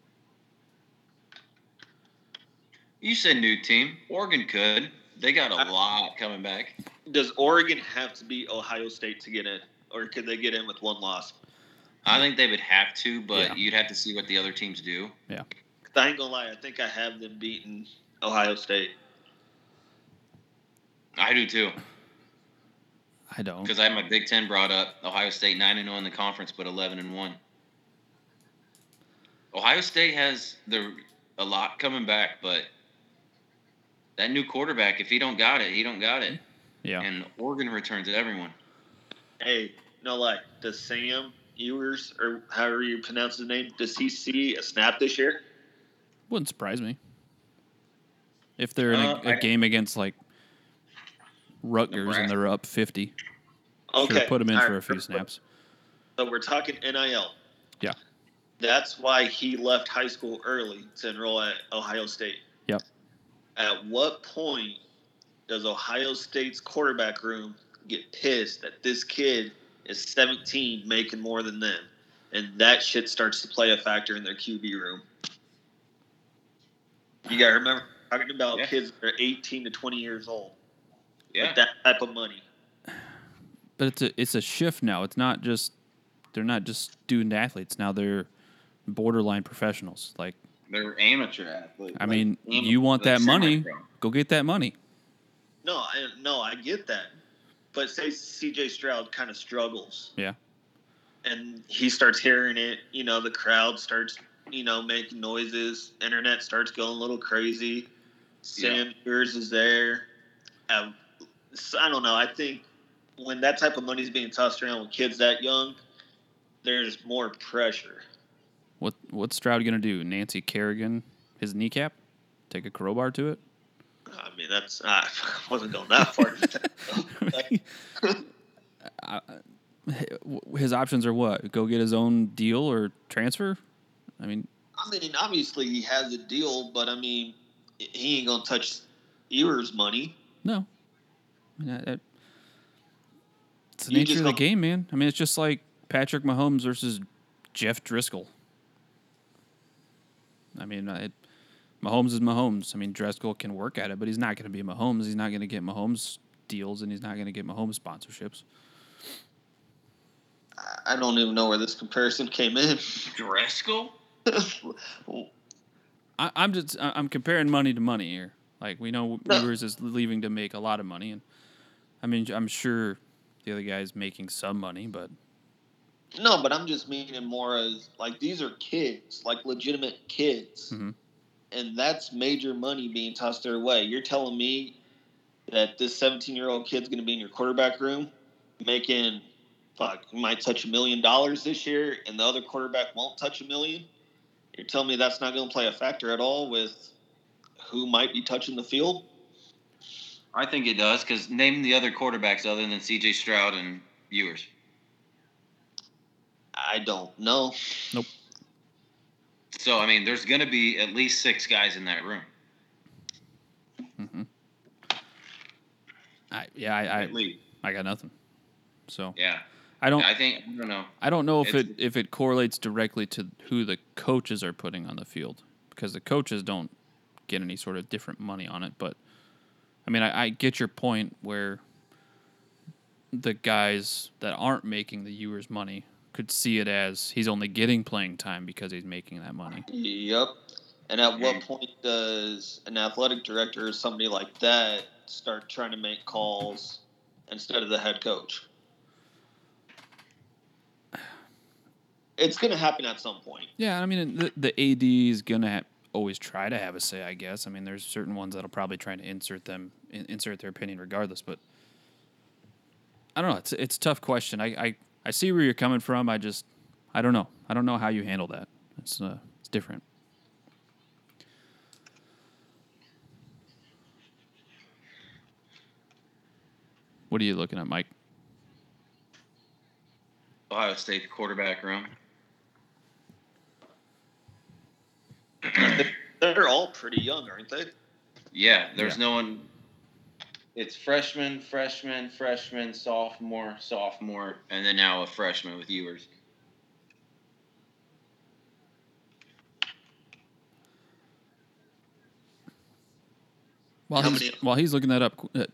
You said new team. Oregon could. They got a lot coming back. Does Oregon have to beat Ohio State to get in, or could they get in with one loss? I think they would have to, but Yeah. you'd have to see what the other teams do. Yeah. 'Cause I ain't gonna lie. I think I have them beating Ohio State. I do too, I don't. because I had my Big Ten brought up. Ohio State nine and zero in the conference, but eleven and one. Ohio State has the a lot coming back, but that new quarterback, if he don't got it, he don't got it. Yeah. And Oregon returns everyone. Hey, no lie. Does Sam Ewers or however you pronounce his name, does he see a snap this year? Wouldn't surprise me. If they're in a, Uh, a I- game against like Rutgers and they're up fifty, Okay, sure, put them in all for a right. few snaps. So we're talking NIL. Yeah. That's why he left high school early to enroll at Ohio State. Yep. At what point does Ohio State's quarterback room get pissed that this kid is 17 making more than them? And that shit starts to play a factor in their QB room. You got to remember we're talking about Yeah. kids that are 18 to 20 years old Yeah. with that type of money. But it's a it's a shift now. It's not just they're not just student athletes now. They're borderline professionals. Like They're amateur athletes. I Like, mean, amateur- you want like that money? semi-pro. Go get that money. No, I, no, I get that. But say CJ Stroud kind of struggles Yeah. and he starts hearing it, you know, the crowd starts, you know, making noises, internet starts going a little crazy. Sam Ewers is there. Um, so I don't know. I think when that type of money is being tossed around with kids that young, there's more pressure. What what's Stroud gonna do? Nancy Kerrigan his kneecap? Take a crowbar to it? I mean, that's I wasn't going that far. His options are what? Go get his own deal or transfer? I mean, I mean, obviously he has a deal, but I mean, he ain't gonna touch Ewers' money. No. I mean, I, I, it's the You nature just of the don't- game, man. I mean, it's just like Patrick Mahomes versus Jeff Driscoll. I mean, it, Mahomes is Mahomes. I mean, Driscoll can work at it, but he's not going to be Mahomes. He's not going to get Mahomes deals, and he's not going to get Mahomes sponsorships. I- I don't even know where this comparison came in. Driscoll? I, I'm just I- I'm comparing money to money here. Like we know No. Ewers is leaving to make a lot of money, and I mean I'm sure the other guy's making some money, but No, but I'm just meaning more as like these are kids, like legitimate kids, Mhm. and that's major money being tossed their way. You're telling me that this 17 year old kid's going to be in your quarterback room making fuck he might touch a million dollars this year, and the other quarterback won't touch a million. You're telling me that's not going to play a factor at all with who might be touching the field? I think it does because name the other quarterbacks other than C.J. Stroud and Ewers. I don't know. So I mean, there's going to be at least six guys in that room. I, yeah, I, I, League. I got nothing. So Yeah. I don't, I think I don't know. I don't know if it It's- if it correlates directly to who the coaches are putting on the field because the coaches don't get any sort of different money on it. But I mean, I, I get your point where the guys that aren't making the viewers money could see it as he's only getting playing time because he's making that money. Yep. And at what point does an athletic director or somebody like that start trying to make calls instead of the head coach? It's going to happen at some point. Yeah, I mean, the, the AD is gonna ha- always try to have a say, I guess. I mean, there's certain ones that'll probably try to insert them, in, insert their opinion regardless. But I don't know. It's it's a tough question. I, I I see where you're coming from. I just I don't know. I don't know how you handle that. It's uh, it's different. What are you looking at, Mike? Ohio State quarterback room. They're all pretty young, aren't they? Yeah, there's Yeah. no one. It's freshman, freshman, freshman, sophomore, sophomore, and then now a freshman with Ewers. While How he's, many- while he's looking that up, uh,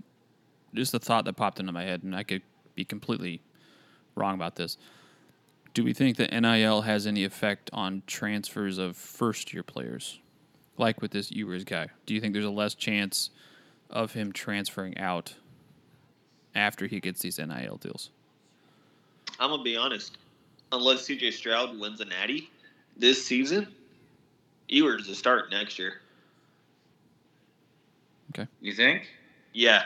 just a thought that popped into my head, and I could be completely wrong about this. Do we think that NIL has any effect on transfers of first year players? Like with this Ewers guy, do you think there's a less chance of him transferring out after he gets these NIL deals? I'm going to be honest. Unless CJ Stroud wins a natty this season, Ewers is starting next year. You think? Yeah.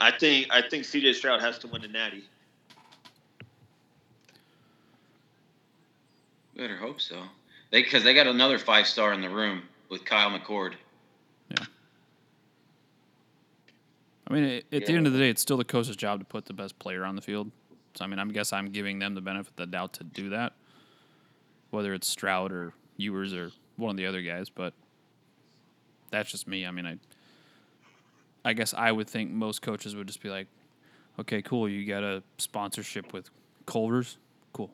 I think I think CJ Stroud has to win a natty. Better hope so. They because they got another five star in the room with Kyle McCord. I mean, at at the Yeah. end of the day, it's still the coach's job to put the best player on the field. So, I mean, I guess I'm giving them the benefit of the doubt to do that, whether it's Stroud or Ewers or one of the other guys. But that's just me. I mean, I, I guess I would think most coaches would just be like, "Okay, cool, you got a sponsorship with Culver's, cool.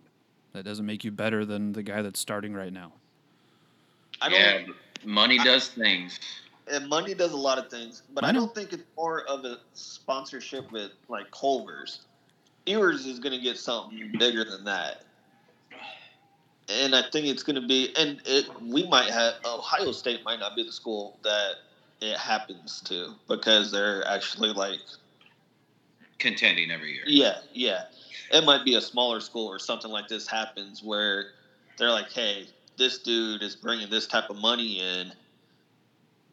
That doesn't make you better than the guy that's starting right now." I don't yeah, money does things. and money does a lot of things, but I I know. don't think it's more of a sponsorship with like Culver's. Ewers is going to get something bigger than that, and I think it's going to be. And it we might have Ohio State might not be the school that it happens to because they're actually like Contending every year. yeah yeah it might be a smaller school or something like this happens where they're like hey this dude is bringing this type of money in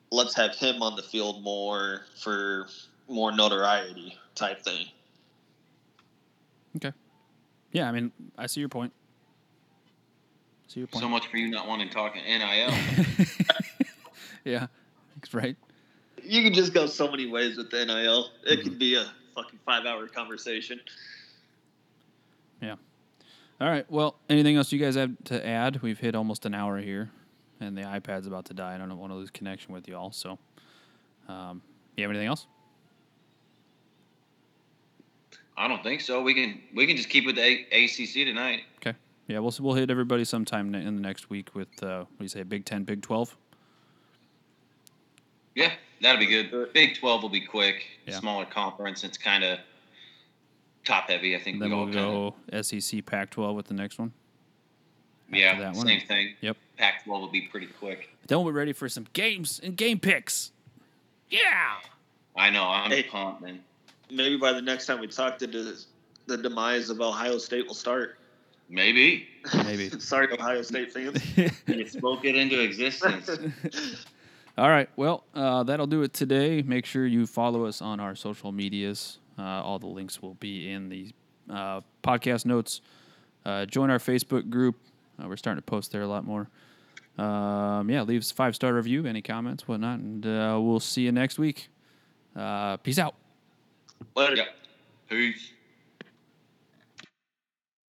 let's have him on the field more for more notoriety type thing Okay. Yeah, I mean, I see your point. See your point. So much for you not wanting to talk in NIL. yeah, right. you can just go so many ways with the nil it could be a fucking five hour conversation Yeah. All right. Well, anything else you guys have to add? We've hit almost an hour here, and the iPad's about to die. I don't want to lose connection with y'all. So, um, you have anything else? I don't think so. We can we can just keep with the A- ACC tonight. Okay. Yeah, we'll we'll hit everybody sometime in the next week with uh, what do you say, Big Ten, Big Twelve. Yeah, that'll be good. Big Twelve will be quick. Yeah. Smaller conference. It's kind of top heavy. I think And then we all we'll kind of go SEC, Pac twelve with the next one. after yeah that one. same thing. Yep. Pac twelve will be pretty quick. Then we're ready for some games and game picks. I know. I'm Hey. pumped, man. maybe by the next time we talk the, de- the demise of ohio state will start Maybe Maybe. sorry ohio state fans it spoke it into existence. All right. Well, uh, that'll do it today. Make sure you follow us on our social medias. Uh, all the links will be in the uh, podcast notes. Uh, join our Facebook group. Uh, we're starting to post there a lot more. Um, yeah, leave us a five star review, any comments, whatnot, and uh, we'll see you next week. Uh, peace out. Later. yep. Peace.